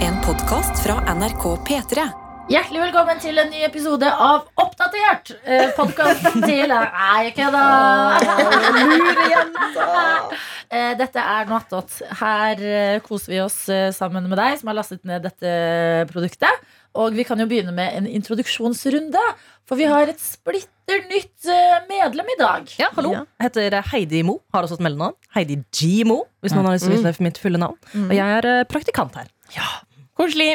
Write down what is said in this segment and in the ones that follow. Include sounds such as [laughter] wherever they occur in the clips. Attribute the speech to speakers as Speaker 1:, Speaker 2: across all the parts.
Speaker 1: En podkast fra NRK P3.
Speaker 2: Hjertelig velkommen til en ny episode av Oppdatert! Eh, Podkasten til Nei, ikke da! Eh, Dette er Noatot. Her eh, koser vi oss eh, sammen med deg som har lastet ned dette produktet. Og vi kan jo begynne med en introduksjonsrunde, for vi har et splitter nytt eh, medlem i dag.
Speaker 3: Ja, hallo.
Speaker 4: Ja.
Speaker 3: Heter Heidi Mo. Har også et mellomnavn. Heidi G. Mo, hvis noen har lyst til å vite det for mitt fulle navn. Og jeg er eh, praktikant her.
Speaker 4: Koselig.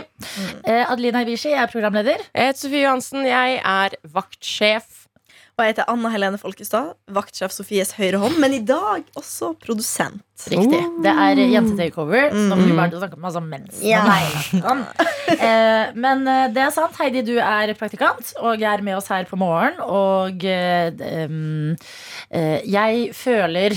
Speaker 2: Eh, Adelina Ibishi er programleder.
Speaker 4: Jeg heter Sofie Johansen. Jeg er vaktsjef.
Speaker 5: Og jeg heter Anna Helene Folkestad, vaktsjef Sofies høyre hånd, men i dag også produsent.
Speaker 2: Riktig. Det er jente-takeover. Så nå blir det bare snakke om masse mens.
Speaker 5: Ja.
Speaker 2: Eh, men eh, det er sant. Heidi, du er praktikant og er med oss her på morgen. Og eh, d- em, eh, jeg føler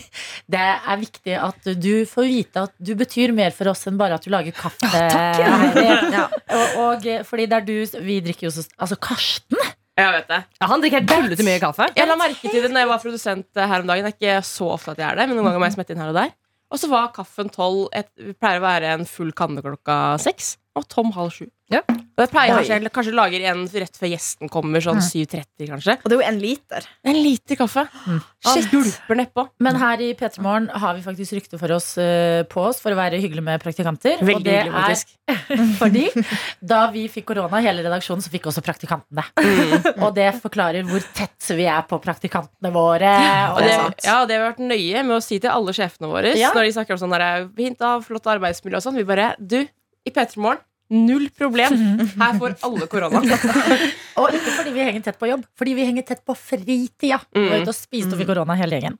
Speaker 2: [laughs] det er viktig at du får vite at du betyr mer for oss enn bare at du lager kaffe. Heidi.
Speaker 5: Ja.
Speaker 2: Og, og eh, fordi det er du Vi drikker jo så Altså Karsten.
Speaker 4: Jeg vet det.
Speaker 3: Ja, han drikker helt tullete mye kaffe.
Speaker 4: Jeg la merke til det når jeg var produsent eh, her om dagen. Det er ikke så ofte at jeg er det, men noen ganger må jeg smette inn her og der. Og så var kaffen tolv. et- Det pleier å være en full kanne klokka seks. Og tom halv sju.
Speaker 3: Ja.
Speaker 4: Og jeg pleier
Speaker 5: Oi.
Speaker 4: kanskje, jeg kanskje lager en rett før gjesten kommer, sånn 7.30 kanskje.
Speaker 5: Og det er jo en liter.
Speaker 4: En liter kaffe. Han gulper nedpå.
Speaker 2: Men her i P3 Morgen har vi faktisk rykte for oss, eh, på oss for å være hyggelig med praktikanter. og
Speaker 4: Veldig
Speaker 2: det
Speaker 4: hyggelig,
Speaker 2: er [laughs]
Speaker 4: faktisk.
Speaker 2: Fordi da vi fikk korona, hele redaksjonen, så fikk også praktikantene.
Speaker 4: Mm.
Speaker 2: Og det forklarer hvor tett vi er på praktikantene våre.
Speaker 4: Og
Speaker 2: Og
Speaker 4: det,
Speaker 5: er sant.
Speaker 4: ja, og det har vi vært nøye med å si til alle sjefene våre
Speaker 2: Ja.
Speaker 4: når de snakker om sånn der, hint av flott arbeidsmiljø og sånn. Vi bare Du, i P3 Morgen, null problem. Her får alle korona.
Speaker 2: og ikke fordi vi henger tett på jobb, fordi vi henger tett på fritida. Vi var ute og spiste og fikk korona hele gjengen.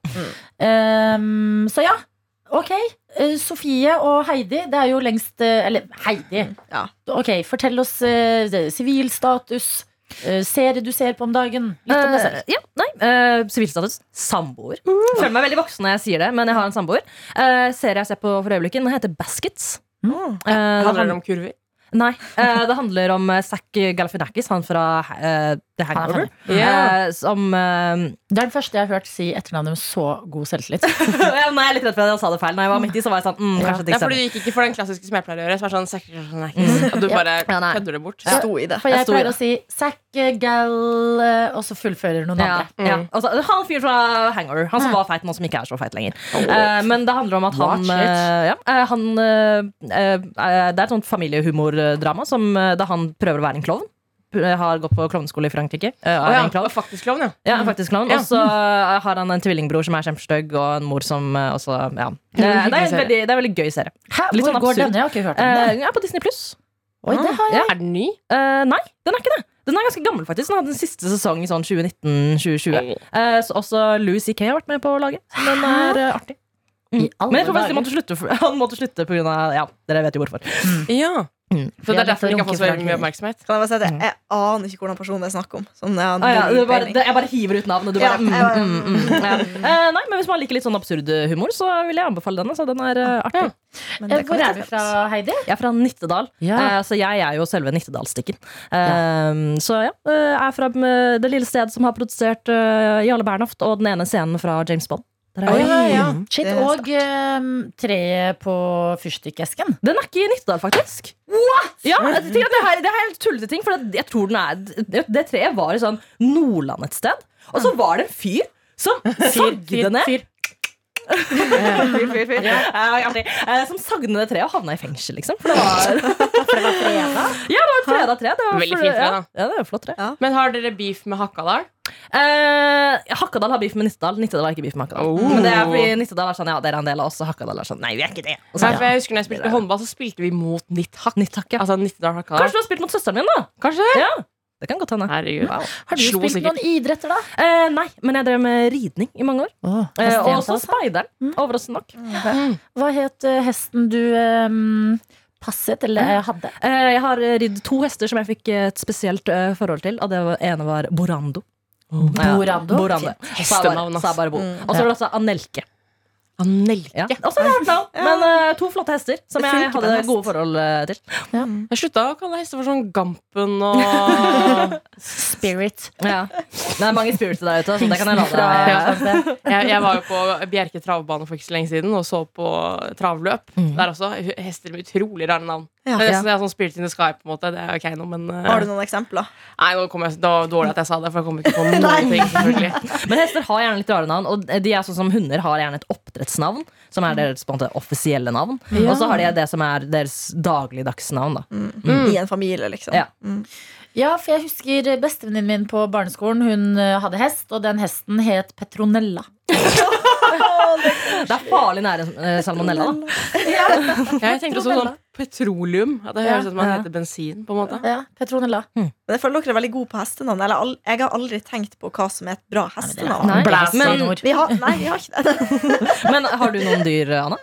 Speaker 2: Um, så ja, ok. Eh, Sofie og Heidi, det er jo lengst eh, Eller Heidi.
Speaker 5: Ja.
Speaker 2: Ok, fortell oss eh, sivilstatus. Uh, serie du ser på om dagen. Litt om deg selv.
Speaker 3: Eh, ja, nei, eh, Sivilstatus. samboer. Føler meg veldig voksen når jeg sier det, men jeg har en samboer. Uh, Serien jeg ser på for øyeblikket, den heter Baskets. Eh, det
Speaker 4: Handler det
Speaker 3: handler,
Speaker 4: om kurver?
Speaker 3: nei, eh, det handler om eh, Zack Galifianakis, han fra eh, The
Speaker 2: Han er
Speaker 3: Hangover.
Speaker 4: Ja.
Speaker 3: eh, som eh,
Speaker 2: Det er den første jeg har hørt si etternavnet med så god [laughs] selvtillit.
Speaker 3: [laughs] ja, Nei, jeg er litt redd for at jeg sa det feil. Når jeg var midt i, så var jeg sånn mm,
Speaker 2: Ja.
Speaker 3: Kanskje det
Speaker 4: Nei,
Speaker 3: ikke
Speaker 4: fordi
Speaker 3: stemmer.
Speaker 4: du gikk ikke for den klassiske som jeg pleier å gjøre. Som er sånn "Sakrasjonakis", At du bare
Speaker 3: Ja, nei.
Speaker 4: kødder det bort.
Speaker 5: Sto i det.
Speaker 2: For jeg
Speaker 3: Jeg sto-
Speaker 2: pleier å si Zack, Gal eh, Og så fullfører noen
Speaker 3: Ja,
Speaker 2: andre.
Speaker 3: ja. Altså, han fyren fra Hangover. Han som var feit, nå som ikke er så feit lenger. Eh, men det handler om at han,
Speaker 2: Watch it.
Speaker 3: eh, ja, eh, han eh, eh, Det er et sånt familiehumordrama som, eh, da han prøver å være en klovn. P- eh, Har gått på klovneskole i Frankrike. eh,
Speaker 4: Å,
Speaker 3: Er
Speaker 4: ja.
Speaker 3: en klovn.
Speaker 4: og Faktisk klovn, ja. Mm.
Speaker 3: Ja, en faktisk klovn.
Speaker 4: Ja.
Speaker 3: Og så eh, har han en tvillingbror som er kjempestygg, og en mor som eh, også Ja. Eh, Det er en
Speaker 4: Hyggelig serie.
Speaker 3: veldig, det er en veldig gøy serie.
Speaker 2: Hæ,
Speaker 3: Litt
Speaker 2: hvor går
Speaker 3: sånn absurd.
Speaker 2: denne? Jeg har ikke hørt om
Speaker 3: Eh,
Speaker 2: den.
Speaker 3: ja, på Disney pluss.
Speaker 2: Oi, det har jeg.
Speaker 3: ja.
Speaker 4: Er den ny?
Speaker 3: Eh, nei, den er ikke det. Den er ganske gammel, faktisk. Den hadde den siste sesong i sånn 2019-2020. Eh, også Louis C.K. har vært med på laget. så Den er eh, artig.
Speaker 2: I alle
Speaker 3: Men jeg tror faktisk de
Speaker 2: dager.
Speaker 3: måtte slutte for, [laughs] han måtte slutte pga. Ja, dere vet jo hvorfor.
Speaker 4: Ja.
Speaker 3: Mm.
Speaker 4: Så
Speaker 2: Vi
Speaker 4: det
Speaker 2: er
Speaker 4: er derfor
Speaker 2: litt
Speaker 4: den ikke har fått så veldig
Speaker 2: runkefranke.
Speaker 4: mye
Speaker 3: [laughs]
Speaker 4: oppmerksomhet.
Speaker 5: Kan jeg bare si at jeg, jeg aner ikke hvordan personen jeg snakker om. Sånn, jeg har
Speaker 3: Ah, ja,
Speaker 5: null
Speaker 3: det er bare,
Speaker 5: peiling.
Speaker 3: det, jeg bare hiver ut navnet. Du
Speaker 5: Ja,
Speaker 3: bare, mm,
Speaker 5: jeg bare-
Speaker 3: mm, mm, ja. Eh, nei, men Hvis man liker litt sånn absurd humor, så vil jeg anbefale den. Altså. Den er eh, artig.
Speaker 5: Men
Speaker 2: Eh,
Speaker 5: det kan
Speaker 2: Hvor
Speaker 5: jeg
Speaker 2: er du
Speaker 5: ta
Speaker 2: fra,
Speaker 5: med oss.
Speaker 2: Heidi?
Speaker 3: Jeg er fra Nittedal,
Speaker 2: Ja.
Speaker 3: eh, så jeg er jo selve Nittedalsstikken. Eh, Så ja, eh, jeg er fra eh, det lille stedet som har produsert eh, Jarle Bernhoft og den ene scenen fra James Bond. Der er jeg.
Speaker 2: Shit,
Speaker 5: Det er
Speaker 2: og eh, treet på fyrstikkesken.
Speaker 3: Den er ikke i Nittedal, faktisk. Ja, jeg tenker at det, her, det her er helt tullete ting, for det, jeg tror den er, det, det treet var i sånn Nordland et sted. Og så var det en fyr som sagde det ned.
Speaker 2: fyr.
Speaker 3: Fyr, fyr, fyr. Eh, artig. Eh, Som sagde ned det treet og havna i fengsel, liksom. For det var, ja, det var et freda tre. Det var
Speaker 4: Veldig fint tre,
Speaker 3: ja.
Speaker 4: da.
Speaker 3: Ja, det er et flott tre.
Speaker 4: Men har dere beef med Hakadal?
Speaker 3: Eh, Hakadal har beef med Nittedal. Nittedal har ikke beef med Hakadal.
Speaker 4: Oh.
Speaker 3: Men det er fordi Nittedal er sånn, ja, dere er en del av oss, og Hakadal er sånn, nei, vi er ikke det. Og så,
Speaker 4: Nei, for
Speaker 3: ja.
Speaker 4: jeg husker når jeg spilte håndball, så spilte vi mot Nitt Hakk.
Speaker 3: Nitthakk, ja.
Speaker 4: Altså Nittedal Hakadal.
Speaker 3: Kanskje du har spilt mot søsteren min, da?
Speaker 4: Kanskje?
Speaker 3: Ja, det kan godt hende.
Speaker 4: Herregud.
Speaker 2: Har du
Speaker 4: Slo
Speaker 2: spilt
Speaker 4: sikkert.
Speaker 2: noen idretter, da?
Speaker 3: Eh, nei, men jeg drev med ridning i mange år. Eh, og også
Speaker 2: Hestejenta.
Speaker 3: speideren, overraskende nok.
Speaker 2: Hva het eh, hesten du eh, passet eller eh, hadde?
Speaker 3: Eh, jeg har eh, ridd to hester som jeg fikk eh, et spesielt eh, forhold til. Og det var, ene var Borando. Ja,
Speaker 2: Borando?
Speaker 3: Borando. Sa jeg
Speaker 4: Oh. Hestenavn,
Speaker 3: bare-
Speaker 4: ass.
Speaker 3: sa jeg bare Bo. Og så var det også Anelke.
Speaker 4: Anelke.
Speaker 3: Ja. Også et rart navn, men eh, to flotte hester som
Speaker 5: Det
Speaker 3: jeg
Speaker 5: funker på
Speaker 3: hadde
Speaker 5: en hest.
Speaker 3: gode forhold eh, til.
Speaker 4: Jeg slutta å kalle hester for sånn Gampen
Speaker 3: [laughs]
Speaker 4: og
Speaker 2: Spirit.
Speaker 3: Ja. Det er mange spirits der ute, så det kan jeg la deg
Speaker 2: Fra-
Speaker 4: jeg, jeg var jo på Bjerke travbane for ikke så lenge siden og så på travløp. Der også. Hester med utrolig rare navn.
Speaker 5: Ja.
Speaker 4: Det er nesten det er sånn spirit in the sky, på en måte. Det er ok nå, men eh,
Speaker 5: Har du noen eksempler?
Speaker 4: Nei, nå kom jeg, det var dårlig at jeg sa det, for jeg kom ikke på noen ting, selvfølgelig.
Speaker 3: Men hester har gjerne litt rare navn, og de er sånn som hunder har gjerne et oppdrettsnavn, som er deres på en måte offisielle navn. Og så har de det som er deres dagligdagse navn, da.
Speaker 5: I en familie, liksom.
Speaker 3: Mm. Ja.
Speaker 5: Mm.
Speaker 2: Ja, for jeg husker bestevenninnen min på barneskolen. Hun eh, hadde hest, og den hesten het Petronella.
Speaker 3: Det er farlig nære eh, salmonella, da.
Speaker 4: Jeg tenkte også sånn petroleum. At det
Speaker 2: Ja.
Speaker 4: høres ut som man
Speaker 2: Ja.
Speaker 4: heter bensin, på en måte.
Speaker 2: Ja, Petronella.
Speaker 5: Men jeg føler dere er veldig gode på hestenavn. Eller al- jeg har aldri tenkt på hva som er et bra hestenavn.
Speaker 3: Nei.
Speaker 2: Blæs
Speaker 3: Men-
Speaker 2: i nord.
Speaker 5: Vi har, nei, vi har ikke det. [laughs]
Speaker 3: Men har du noen dyr, Anna?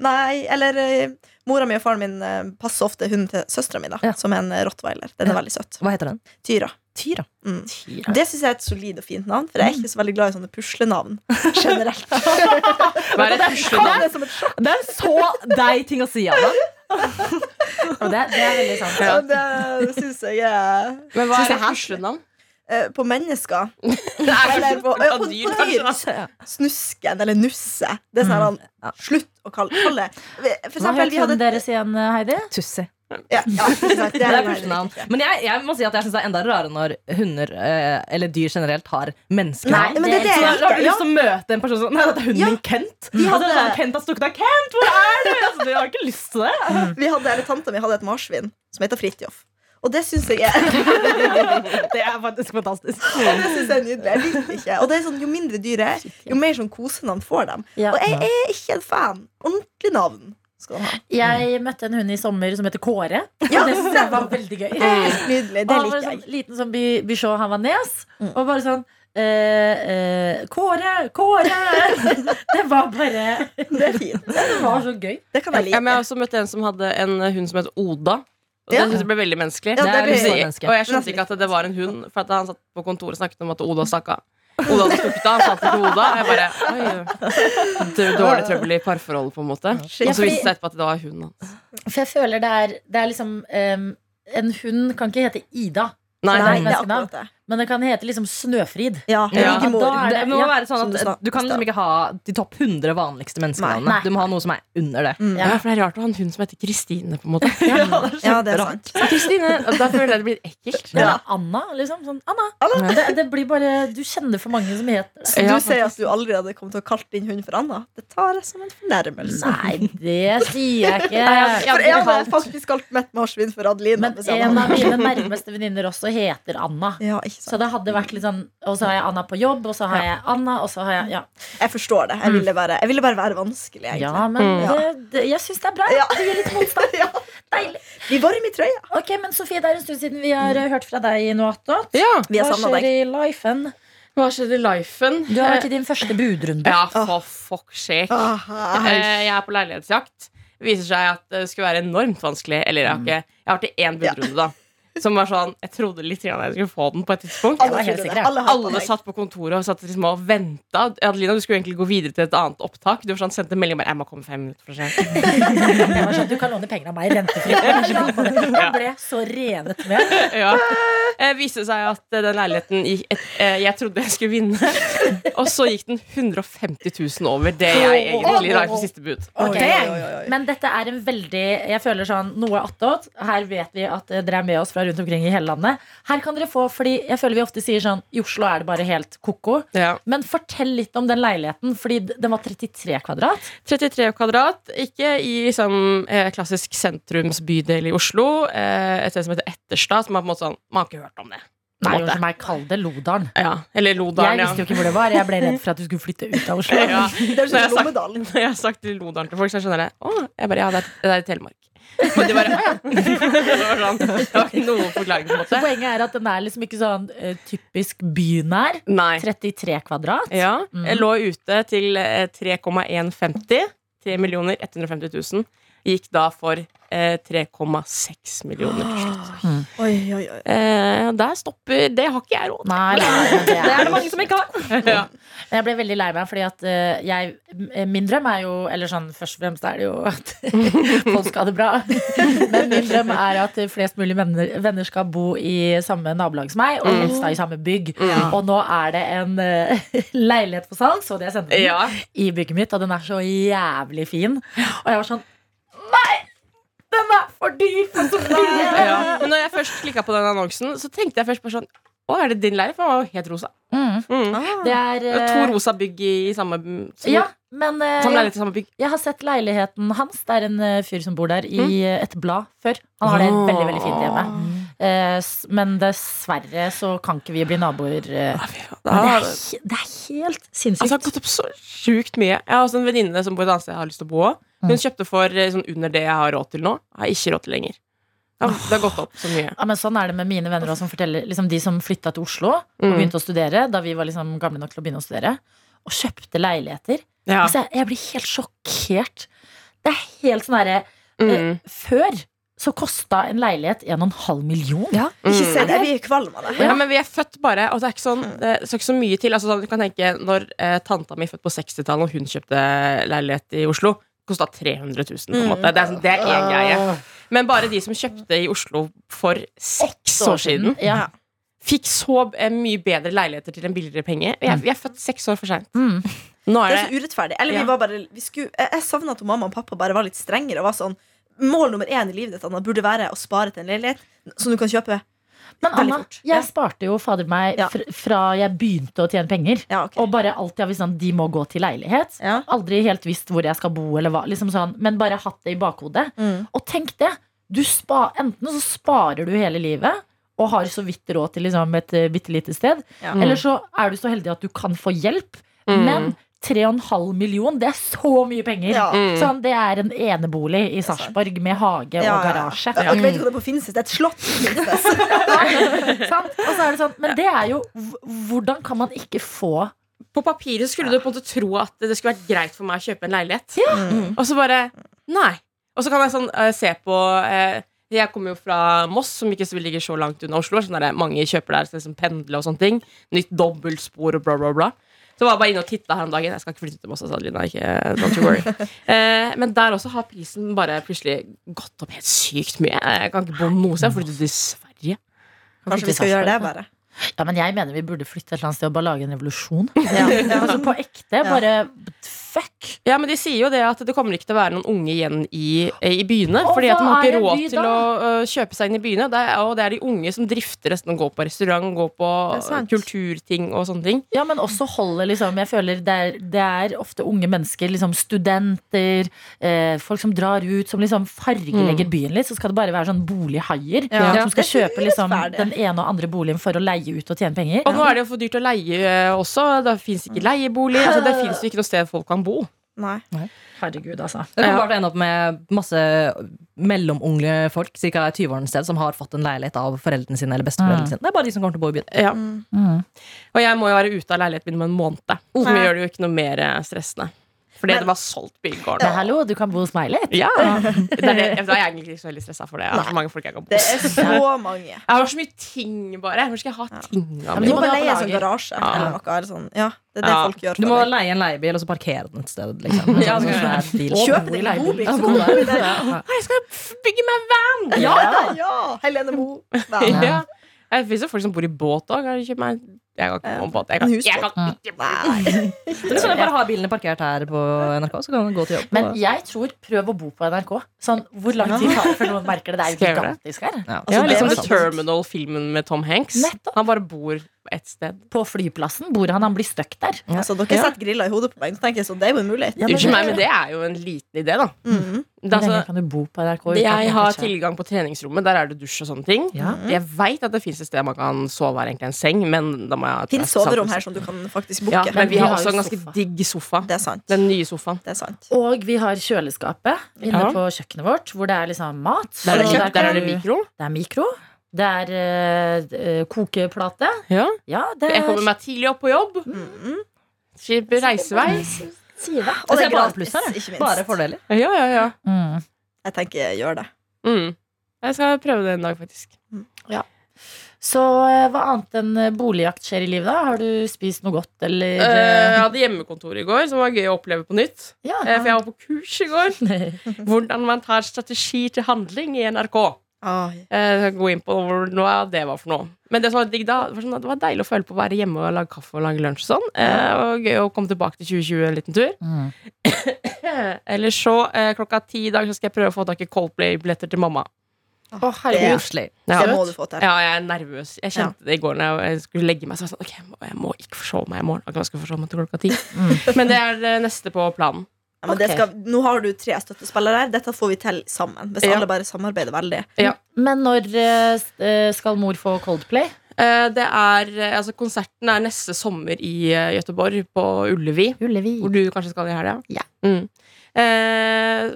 Speaker 5: Nei, eller eh, mora mi og faren min eh, passer ofte hunden til søstera mi, da,
Speaker 3: Ja.
Speaker 5: som er en eh, rottweiler. Den er
Speaker 3: Ja.
Speaker 5: veldig søt.
Speaker 3: Hva heter den?
Speaker 5: Tyra.
Speaker 3: Tyra.
Speaker 5: Mm.
Speaker 3: Tyra.
Speaker 5: Det syns jeg er et solid og fint navn, for jeg er ikke så veldig glad i sånne [laughs] puslenavn. Generelt.
Speaker 4: Hva er et puslenavn?
Speaker 5: Det er som et sjokk.
Speaker 3: Det er så deg ting å si, Anna.
Speaker 2: Og det, det er veldig
Speaker 4: [laughs]
Speaker 2: sant.
Speaker 5: og Det syns jeg er
Speaker 4: Men hva
Speaker 5: Synes
Speaker 4: er
Speaker 5: jeg
Speaker 4: et puslenavn?
Speaker 5: eh, På mennesker.
Speaker 4: Det er
Speaker 5: Eller på, eh,
Speaker 4: av
Speaker 5: på,
Speaker 4: dyr,
Speaker 5: på
Speaker 4: kanskje,
Speaker 5: dyr.
Speaker 4: da.
Speaker 5: Snusken eller Nusse. Det er sånn
Speaker 3: Ja.
Speaker 5: Slutt å kalle kalle det. For
Speaker 2: Hva
Speaker 5: eksempel,
Speaker 2: het
Speaker 5: vi hadde
Speaker 2: hunden deres igjen, Heidi?
Speaker 3: Tussi.
Speaker 5: Ja, ja, ikke sant, det
Speaker 3: Det
Speaker 5: er
Speaker 3: er
Speaker 5: jo veldig
Speaker 3: puslenavn.
Speaker 5: riktig.
Speaker 3: Men jeg, jeg må si at jeg syns det er enda rarere når hunder, eh, eller dyr generelt, har
Speaker 5: Nei,
Speaker 3: menneskenavn.
Speaker 5: men det er liksom- det
Speaker 3: Så
Speaker 5: jeg
Speaker 3: har du
Speaker 5: liker. Ja.
Speaker 3: lyst til å møte en person sånn Nei, dette er hunden
Speaker 5: Ja.
Speaker 3: min, Kent.
Speaker 5: Vi
Speaker 3: Og så er det
Speaker 5: hadde-
Speaker 3: sånn, Kent har stukket av. Kent, hvor er du? Altså, du har ikke lyst til det.
Speaker 5: Vi hadde, eller Tanta mi hadde et marsvin som heter Fridtjof. Og det syns jeg er [laughs]
Speaker 3: Det er faktisk fantastisk.
Speaker 5: Det synes jeg er nydelig. Jeg liker det ikke. Og det er sånn, Jo mindre dyr jeg er, jo mer sånn kosenavn får dem.
Speaker 2: Ja.
Speaker 5: Og jeg er ikke en fan. Ordentlig navn
Speaker 2: [laughs]
Speaker 5: skal de ha.
Speaker 2: Jeg møtte en hund i sommer som heter Kåre.
Speaker 5: Ja,
Speaker 2: Og det synes jeg var veldig gøy.
Speaker 5: Helt nydelig.
Speaker 2: Og
Speaker 5: Det
Speaker 2: han var
Speaker 5: liker
Speaker 2: sånn
Speaker 5: jeg.
Speaker 2: liten som Bi- Bichon Havanes. Og bare sånn eh, eh, Kåre! Kåre! [laughs] det var bare
Speaker 5: Det er fint.
Speaker 2: Det var så gøy.
Speaker 5: Det kan jeg
Speaker 4: Ja, men jeg
Speaker 5: like.
Speaker 4: har også møtt en som hadde en hund som het Oda. Og det
Speaker 5: Ja.
Speaker 4: synes jeg ble veldig menneskelig.
Speaker 5: Ja, det
Speaker 4: Det er
Speaker 5: blir-
Speaker 4: liksom-
Speaker 3: sånn menneske.
Speaker 4: og jeg skjønte ikke at det var en hund, for at han satt på kontoret og snakket om at Oda stakk av. Oda hadde stukket av, han satt ikke Oda. Og jeg bare, oi, det er jo dårlig trøbbel i parforholdet, på en måte. Og så viste det seg etterpå at det var altså. hunden hans.
Speaker 2: For jeg føler det er, det er liksom em, En hund kan ikke hete Ida,
Speaker 4: Nei,
Speaker 5: Nei,
Speaker 4: nei.
Speaker 5: det er akkurat det.
Speaker 2: men den kan hete liksom Snøfrid.
Speaker 5: Ja,
Speaker 4: Ja,
Speaker 5: like mor.
Speaker 2: da er
Speaker 3: Det må
Speaker 2: ja,
Speaker 3: være
Speaker 5: som
Speaker 3: sånn
Speaker 5: du sa.
Speaker 3: at Du kan liksom ikke ha de topp 100 vanligste
Speaker 2: Nei,
Speaker 3: menneskenavnene.
Speaker 2: nei.
Speaker 3: Du må ha noe som er under det.
Speaker 5: Mm.
Speaker 4: Ja, for det er rart å ha en hund som heter Kristine, på en måte.
Speaker 5: [laughs] Ja, det er sant.
Speaker 4: Ja, Kristine, Da føler jeg det blir ekkelt.
Speaker 2: Men Anna, liksom. Sånn, Anna. Det, det blir bare Du kjenner for mange som heter det.
Speaker 5: Så du
Speaker 4: Ja,
Speaker 5: sier at du aldri hadde kommet til å kalle din hund for Anna? Det tar jeg som en fornærmelse.
Speaker 2: Nei, det sier jeg ikke.
Speaker 4: Nei, ja,
Speaker 5: For
Speaker 4: det
Speaker 5: jeg
Speaker 4: er
Speaker 5: hadde
Speaker 4: halvt.
Speaker 5: faktisk kalt mitt marsvin for Adelina.
Speaker 2: Men
Speaker 5: hvis jeg hadde
Speaker 2: en
Speaker 5: hatt
Speaker 2: av mine nærmeste venninner også heter Anna.
Speaker 5: den. Ja, ikke
Speaker 2: Så
Speaker 5: sant.
Speaker 2: det hadde vært litt sånn Og så har jeg Anna på jobb, og så har jeg Anna, og så har jeg Ja,
Speaker 5: Jeg forstår det. Jeg ville bare, jeg ville bare være vanskelig,
Speaker 2: ja
Speaker 5: egentlig.
Speaker 2: men
Speaker 5: Mm.
Speaker 2: det, det, jeg syns det er bra.
Speaker 5: Ja.
Speaker 2: Det gir litt motstand.
Speaker 5: [laughs] Ja.
Speaker 2: Deilig.
Speaker 5: Vi varm i trøya.
Speaker 2: Ok, men Sofie, det er en stund siden vi har eh, hørt fra deg i noe attåt.
Speaker 4: Ja,
Speaker 5: Mm. Vi har
Speaker 2: Hva
Speaker 5: savna
Speaker 2: skjer
Speaker 5: deg.
Speaker 2: i lifen?
Speaker 4: Hva skjedde i lifen?
Speaker 2: Du har vært i din første budrunde.
Speaker 4: Ja, for fuck sake.
Speaker 5: Ah,
Speaker 4: Eh, Jeg er på leilighetsjakt. Det viser seg at det skulle være enormt vanskelig. Eller
Speaker 5: Mm.
Speaker 4: jeg har ikke Jeg har vært i én budrunde, da. Som var sånn Jeg trodde litt grann jeg skulle få den på et tidspunkt.
Speaker 5: Alle
Speaker 2: var helt
Speaker 5: trodde det.
Speaker 2: sikker, jeg.
Speaker 5: Alle har på
Speaker 4: Alle
Speaker 5: meg.
Speaker 4: satt på kontoret og satt liksom og venta. Adelina, du skulle egentlig gå videre til et annet opptak. Du var sånn, sendte en melding bare 'Jeg må komme fem minutter for sent'.
Speaker 5: [laughs]
Speaker 2: Jeg var sånn, Du kan låne penger av meg rentefritt. Jeg ble så revet med.
Speaker 4: Ja. Eh, viste seg at eh, den leiligheten gikk et, eh, jeg trodde jeg skulle vinne. Og så gikk den 150 000 over det jeg egentlig la i på siste bud.
Speaker 5: Oi,
Speaker 2: Ok.
Speaker 5: oi, oi, oi.
Speaker 2: Men dette er en veldig Jeg føler sånn noe attåt. Her vet vi at eh, dere er med oss fra rundt omkring i hele landet. Her kan dere få, fordi jeg føler vi ofte sier sånn I Oslo er det bare helt ko-ko.
Speaker 4: Ja.
Speaker 2: Men fortell litt om den leiligheten, fordi d- den var 33 kvadrat.
Speaker 4: 33 kvadrat, ikke i liksom, eh, klassisk sentrumsbydel i Oslo. Eh, et sted som heter Etterstad, som er på en måte sånn Man har ikke hørt om det. på en
Speaker 2: Nei,
Speaker 4: måte.
Speaker 2: unnskyld meg, kall det Lodalen.
Speaker 4: Ja. Eller
Speaker 2: Jeg
Speaker 4: Lodalen,
Speaker 2: visste jo ikke hvor det var. Jeg ble redd for at du skulle flytte ut av
Speaker 3: [laughs]
Speaker 2: Oslo.
Speaker 4: ja. ja.
Speaker 5: Det er
Speaker 4: Når jeg
Speaker 5: sånn
Speaker 4: har sagt,
Speaker 5: Lommedalen.
Speaker 4: når [laughs] jeg har sagt til Lodalen til folk, så skjønner jeg Å, jeg bare, ja, det er, det er i Telemark. [laughs] Men de bare Å, ja. [laughs] Det var sånn. Det var ikke noen forklaring, på en
Speaker 2: Så
Speaker 4: måte.
Speaker 2: poenget er at den er liksom ikke sånn eh, typisk bynær.
Speaker 4: Nei.
Speaker 2: 33 kvadrat.
Speaker 4: Ja.
Speaker 2: Mm.
Speaker 4: Jeg lå ute til eh, 3,150. 3 millioner 150 000. Gikk da for eh, 3,6 millioner til slutt.
Speaker 5: Oi, oi, oi.
Speaker 4: Eh, der stopper Det har ikke jeg råd
Speaker 2: Nei, nei, det
Speaker 3: Det
Speaker 2: er
Speaker 3: er det mange som ikke
Speaker 2: [laughs]
Speaker 3: har.
Speaker 4: til. Ja.
Speaker 2: Men Jeg ble veldig lei meg, fordi at eh, jeg, m- min drøm er jo Eller sånn, først og fremst er det jo at [laughs] folk skal ha det bra. Men min drøm er at flest mulig venner, venner skal bo i samme nabolag som meg, og
Speaker 3: Mm.
Speaker 2: helst da i samme bygg. Og nå er det en eh, [laughs] leilighet på salg, så det jeg sendte den,
Speaker 4: Ja.
Speaker 2: i bygget mitt, og den er så jævlig fin. Og jeg var sånn Nei! Den er for dyrt for Sofie!
Speaker 4: Ja. Men når jeg først klikka på den annonsen, så tenkte jeg først bare sånn Å, er det din leir? For den var jo helt rosa.
Speaker 2: Mm.
Speaker 4: Mm.
Speaker 5: Ah.
Speaker 2: Det er
Speaker 4: Det var
Speaker 2: eh,
Speaker 4: to rosa bygg i samme som,
Speaker 2: Ja, men eh,
Speaker 4: Samme leilighet i samme bygg.
Speaker 2: jeg har sett leiligheten hans. Det er en eh, fyr som bor der, i
Speaker 4: Mm.
Speaker 2: eh, et blad før. Han har det
Speaker 4: Åh.
Speaker 2: veldig veldig fint hjemme. Eh, s- Men dessverre så kan ikke vi bli naboer. eh.
Speaker 4: Da,
Speaker 2: Men Det er,
Speaker 4: altså,
Speaker 2: he- det er helt
Speaker 4: jeg har
Speaker 2: sinnssykt.
Speaker 4: gått opp så sjukt mye. Jeg har også en venninne som bor et annet sted jeg har lyst til å bo. også.
Speaker 2: Mm.
Speaker 4: Hun kjøpte for eh, sånn under det jeg har råd til nå. Jeg har ikke råd til lenger. Ja, det har gått opp så mye.
Speaker 2: Ja, men sånn er det med mine venner også, som forteller liksom, De som flytta til Oslo og
Speaker 4: Mm.
Speaker 2: begynte å studere da vi var liksom, gamle nok til å begynne å studere, og kjøpte leiligheter.
Speaker 4: Ja.
Speaker 2: Altså, jeg, jeg blir helt sjokkert. Det er helt sånn herre eh,
Speaker 4: Mm.
Speaker 2: Før så kosta en leilighet en og en halv million.
Speaker 5: Ja, ikke
Speaker 4: Mm.
Speaker 5: se det. Vi er kvalme av det.
Speaker 4: Ja, men vi er født bare, og det er ikke, sånn, det skal ikke så mye til. Altså, sånn, du kan tenke, Når eh, tanta mi født på 60-tallet, og hun kjøpte leilighet i Oslo, kosta 300 000. På en
Speaker 5: Mm.
Speaker 4: måte. Det er sånn- det er én greie. Men bare de som kjøpte i Oslo for seks år siden,
Speaker 2: Ja.
Speaker 4: fikk så eh, mye bedre leiligheter til en billigere penge. Vi er, vi er født seks år for seint.
Speaker 2: Mm.
Speaker 4: Nå
Speaker 5: Det
Speaker 4: er
Speaker 5: er så
Speaker 4: Mm. det
Speaker 5: urettferdig. Eller
Speaker 4: Ja.
Speaker 5: vi var bare vi skulle, Jeg, jeg savna at mamma og pappa bare var litt strengere og var sånn Mål nummer én i livet ditt Anna, burde være å spare til en leilighet som du kan kjøpe.
Speaker 2: Men
Speaker 5: Veldig
Speaker 2: Anna,
Speaker 5: fort. Ja.
Speaker 2: jeg sparte jo fader meg
Speaker 5: Ja.
Speaker 2: fr fra jeg begynte å tjene penger.
Speaker 5: Ja, ok.
Speaker 2: Og bare alltid har visst sånn de må gå til leilighet.
Speaker 5: Ja.
Speaker 2: Aldri helt visst hvor jeg skal bo, eller hva, liksom sånn, men bare hatt det i bakhodet.
Speaker 5: Mm.
Speaker 2: Og tenk det! Du spa, enten så sparer du hele livet og har så vidt råd til liksom, et eh, bitte lite sted,
Speaker 5: Ja.
Speaker 2: eller så er du så heldig at du kan få hjelp. Men 3,5 million, det er så mye penger!
Speaker 5: Ja.
Speaker 2: Sånn, det er en enebolig i Sarpsborg med hage
Speaker 5: Ja,
Speaker 2: og
Speaker 5: ja, ja.
Speaker 2: garasje.
Speaker 5: Og
Speaker 2: [laughs]
Speaker 5: jeg vet ikke hva det er på Finnsnes. Det er et slott. på Finnsnes.
Speaker 2: Sant? Og så er det sånn, men det er jo h- Hvordan kan man ikke få
Speaker 4: På papiret skulle du på en måte tro at det skulle vært greit for meg å kjøpe en leilighet.
Speaker 5: Mm.
Speaker 4: Og så bare Nei. Og så kan jeg sånn eh, se på eh, Jeg kommer jo fra Moss, som ikke så ligger så langt unna Oslo. Sånn der, mange kjøper der, så liksom pendler og sånne ting. Nytt dobbeltspor og bla, bla, bla. Så var jeg bare inne og titta her om dagen. Jeg skal ikke flytte til Moss, altså, Adelina. Ikke, don't you worry. eh, men der også har prisen bare plutselig gått opp helt sykt mye. Jeg kan ikke bo noe sted. Jeg flyttet til Sverige.
Speaker 5: Kanskje vi skal gjøre det, bare.
Speaker 2: Ja, men jeg mener vi burde flytte et eller annet sted og bare lage en revolusjon.
Speaker 5: Ja.
Speaker 2: Altså på ekte, bare fuck!
Speaker 4: Ja, men De sier jo det at det kommer ikke til å være noen unge igjen i, eh, i byene.
Speaker 2: Og
Speaker 4: fordi at de
Speaker 2: hva
Speaker 4: har
Speaker 2: er
Speaker 4: ikke
Speaker 2: en
Speaker 4: råd
Speaker 2: by
Speaker 4: til å øh, kjøpe seg inn i byene. Det er, og det er de unge som drifter resten og går på restaurant, går på
Speaker 5: Det er sant.
Speaker 4: kulturting og sånne ting.
Speaker 2: Ja, men også holde, liksom. Jeg føler det er, det er ofte unge mennesker, liksom studenter, eh, folk som drar ut, som liksom fargelegger byen litt. Så skal det bare være sånn bolighaier
Speaker 5: Ja.
Speaker 2: som skal
Speaker 5: Det er
Speaker 2: kjøpe liksom
Speaker 5: urettferdig.
Speaker 2: den ene og andre boligen for å leie ut og tjene penger.
Speaker 4: Og nå er det jo for dyrt å leie øh, også. Det fins ikke leiebolig. Altså, det fins ikke noe sted folk kan bo.
Speaker 5: Nei.
Speaker 2: Herregud, altså.
Speaker 3: Det kan bare ende opp med masse mellomunge folk Cirka 20-årene sted som har fått en leilighet av foreldrene sine eller besteforeldrene sine. Det er bare de som kommer til å bo i byen.
Speaker 4: Ja.
Speaker 5: Mm.
Speaker 4: Og jeg må jo være ute av leiligheten min om en måned. Som
Speaker 5: Nei.
Speaker 4: gjør det jo ikke noe mer eh, stressende. Fordi
Speaker 5: Men-
Speaker 4: det var solgt
Speaker 2: Men
Speaker 4: bygården.
Speaker 2: hallo, du kan bo hos meg litt.
Speaker 4: Ja. Det er, det. Da er jeg egentlig ikke så veldig stressa for det. Jeg har så mange folk jeg kan bo
Speaker 5: Det
Speaker 4: hos.
Speaker 5: er så mange.
Speaker 4: Jeg har så mye ting, bare. Hvor skal jeg ha tinga
Speaker 2: men
Speaker 5: Du
Speaker 4: mine?
Speaker 2: de må
Speaker 5: må bare
Speaker 2: dra på
Speaker 5: leie en sånn
Speaker 2: lager.
Speaker 5: garasje
Speaker 4: Ja.
Speaker 5: eller noe. Eller sånn. Ja, det er det
Speaker 4: Ja.
Speaker 5: folk gjør.
Speaker 3: Du må
Speaker 5: for deg.
Speaker 3: leie en leiebil og så parkere den et sted. Liksom. En
Speaker 4: Ja,
Speaker 3: sånn
Speaker 4: det kan
Speaker 3: svær bil.
Speaker 2: Og
Speaker 5: Kjøp
Speaker 2: bo
Speaker 5: deg
Speaker 2: i
Speaker 5: en bobil,
Speaker 2: leilighet.
Speaker 5: så kan du bo der.
Speaker 4: Jeg skal f- bygge meg van!
Speaker 5: Ja, ja! Helene Moe.
Speaker 4: [laughs] Ja.
Speaker 5: Nei.
Speaker 2: Ja.
Speaker 4: Det fins jo folk som bor i båt òg. Jeg kan ikke bo i båt. Jeg kan,
Speaker 5: En
Speaker 4: jeg
Speaker 5: husbåt.
Speaker 4: kan ikke bo i-
Speaker 3: Men så kan jeg bare ha bilene parkert her på NRK, så kan du gå til jobb.
Speaker 2: Men jeg tror prøv å bo på NRK. Sånn, Hvor lang tid tar det før noen merker det? Det er jo
Speaker 4: Skal jeg gjøre
Speaker 2: gigantisk her.
Speaker 3: ja.
Speaker 4: Ja,
Speaker 5: det
Speaker 4: liksom
Speaker 5: var
Speaker 4: The
Speaker 5: sant.
Speaker 4: Terminal-filmen med Tom Hanks.
Speaker 2: Nettopp.
Speaker 4: Han bare bor ett sted.
Speaker 2: På flyplassen bor han, han blir stuck der.
Speaker 5: Altså, dere setter grilla i hodet på meg. Så tenker jeg sånn, det er jo en mulighet.
Speaker 2: Ja, men
Speaker 4: Unnskyld
Speaker 2: det-
Speaker 4: meg, men det er jo en liten idé, da.
Speaker 5: Mhm.
Speaker 4: Det, er
Speaker 2: Hvor lenge
Speaker 4: altså,
Speaker 2: kan du bo på NRK? uten at
Speaker 4: jeg
Speaker 2: det
Speaker 4: har
Speaker 2: catcher?
Speaker 4: tilgang på treningsrommet. Der er det dusj og sånne ting.
Speaker 2: Ja.
Speaker 4: Jeg veit at det fins et sted man kan sove her, egentlig en seng, men da må jeg ha et
Speaker 5: Finnes soverom her som du kan faktisk booke.
Speaker 4: Ja, men vi har
Speaker 2: jo
Speaker 4: også en ganske
Speaker 2: sofa.
Speaker 4: digg sofa.
Speaker 5: Det er sant.
Speaker 4: Den nye sofaen.
Speaker 5: Det er sant.
Speaker 2: Og vi har kjøleskapet inne
Speaker 4: Ja.
Speaker 2: på kjøkkenet vårt, hvor det er liksom mat.
Speaker 4: Der er det,
Speaker 2: Og
Speaker 4: kjøpt, der er det
Speaker 2: kan-
Speaker 4: mikro.
Speaker 2: det er mikro. Det er eh, eh, kokeplate.
Speaker 4: Ja.
Speaker 2: Ja, det
Speaker 4: Jeg kommer
Speaker 2: er
Speaker 4: meg Eh, tidlig opp på jobb. Slipper reisevei.
Speaker 5: Mm. Og det
Speaker 3: Jeg
Speaker 5: er
Speaker 3: ser bare
Speaker 5: gratis,
Speaker 3: pluss her, jeg.
Speaker 5: ikke minst.
Speaker 3: Bare fordeler.
Speaker 4: Ja, ja, ja.
Speaker 2: mm.
Speaker 5: Jeg tenker gjør det.
Speaker 4: Mm. Jeg skal prøve det en dag, faktisk.
Speaker 2: Så eh, hva annet enn eh, boligjakt skjer i livet, da? Har du spist noe godt, eller
Speaker 4: Eh,
Speaker 2: eh,
Speaker 4: jeg hadde hjemmekontor i går, som var gøy å oppleve på nytt.
Speaker 2: Ja.
Speaker 4: Eh, for jeg var på kurs i går.
Speaker 2: eh, [laughs]
Speaker 4: Hvordan man tar strategi til handling i NRK.
Speaker 5: Ah,
Speaker 4: Eh, jeg skal gå inn på hvor- hva det var for noe. Men det som var digg da, var sånn at det var deilig å føle på å være hjemme og lage kaffe og lage lunsj og sånn. Eh, og gøy å komme tilbake til 2020 en liten tur.
Speaker 2: Mm.
Speaker 4: [coughs] Eller så, eh, klokka ti i dag, så skal jeg prøve å få tak i Coldplay-billetter til mamma.
Speaker 2: Å, herregud.
Speaker 3: Koselig.
Speaker 4: Ja.
Speaker 5: Det må du få til.
Speaker 4: Ja, jeg er nervøs. Jeg kjente det i går når jeg skulle legge meg. Så jeg var sånn, ok, jeg må, jeg må ikke forsove meg i morgen. Ok, jeg skal forsove meg til klokka ti. Men det er eh, neste på planen.
Speaker 5: Ja, men det
Speaker 2: Ok.
Speaker 5: skal, nå har du tre støttespillere her. Dette får vi til sammen. Hvis
Speaker 4: Ja.
Speaker 5: alle bare samarbeider veldig.
Speaker 2: Men når eh, s- eh, skal mor få Coldplay?
Speaker 4: Eh, Det er, eh, altså Konserten er neste sommer i eh, Gøteborg, på Ullevi.
Speaker 2: Ullevi.
Speaker 4: Hvor du kanskje skal i helga?
Speaker 2: Ja.
Speaker 4: Mm. Eh,